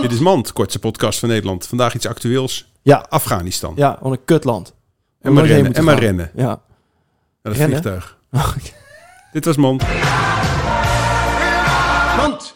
Dit is Mand, kortste podcast van Nederland. Vandaag iets actueels. Ja. Afghanistan. Ja, wat een kutland. en maar Nooit rennen. heen moeten En maar gaan. rennen. Ja. Oh, Naar het Rennen? vliegtuig. Dit was Mand.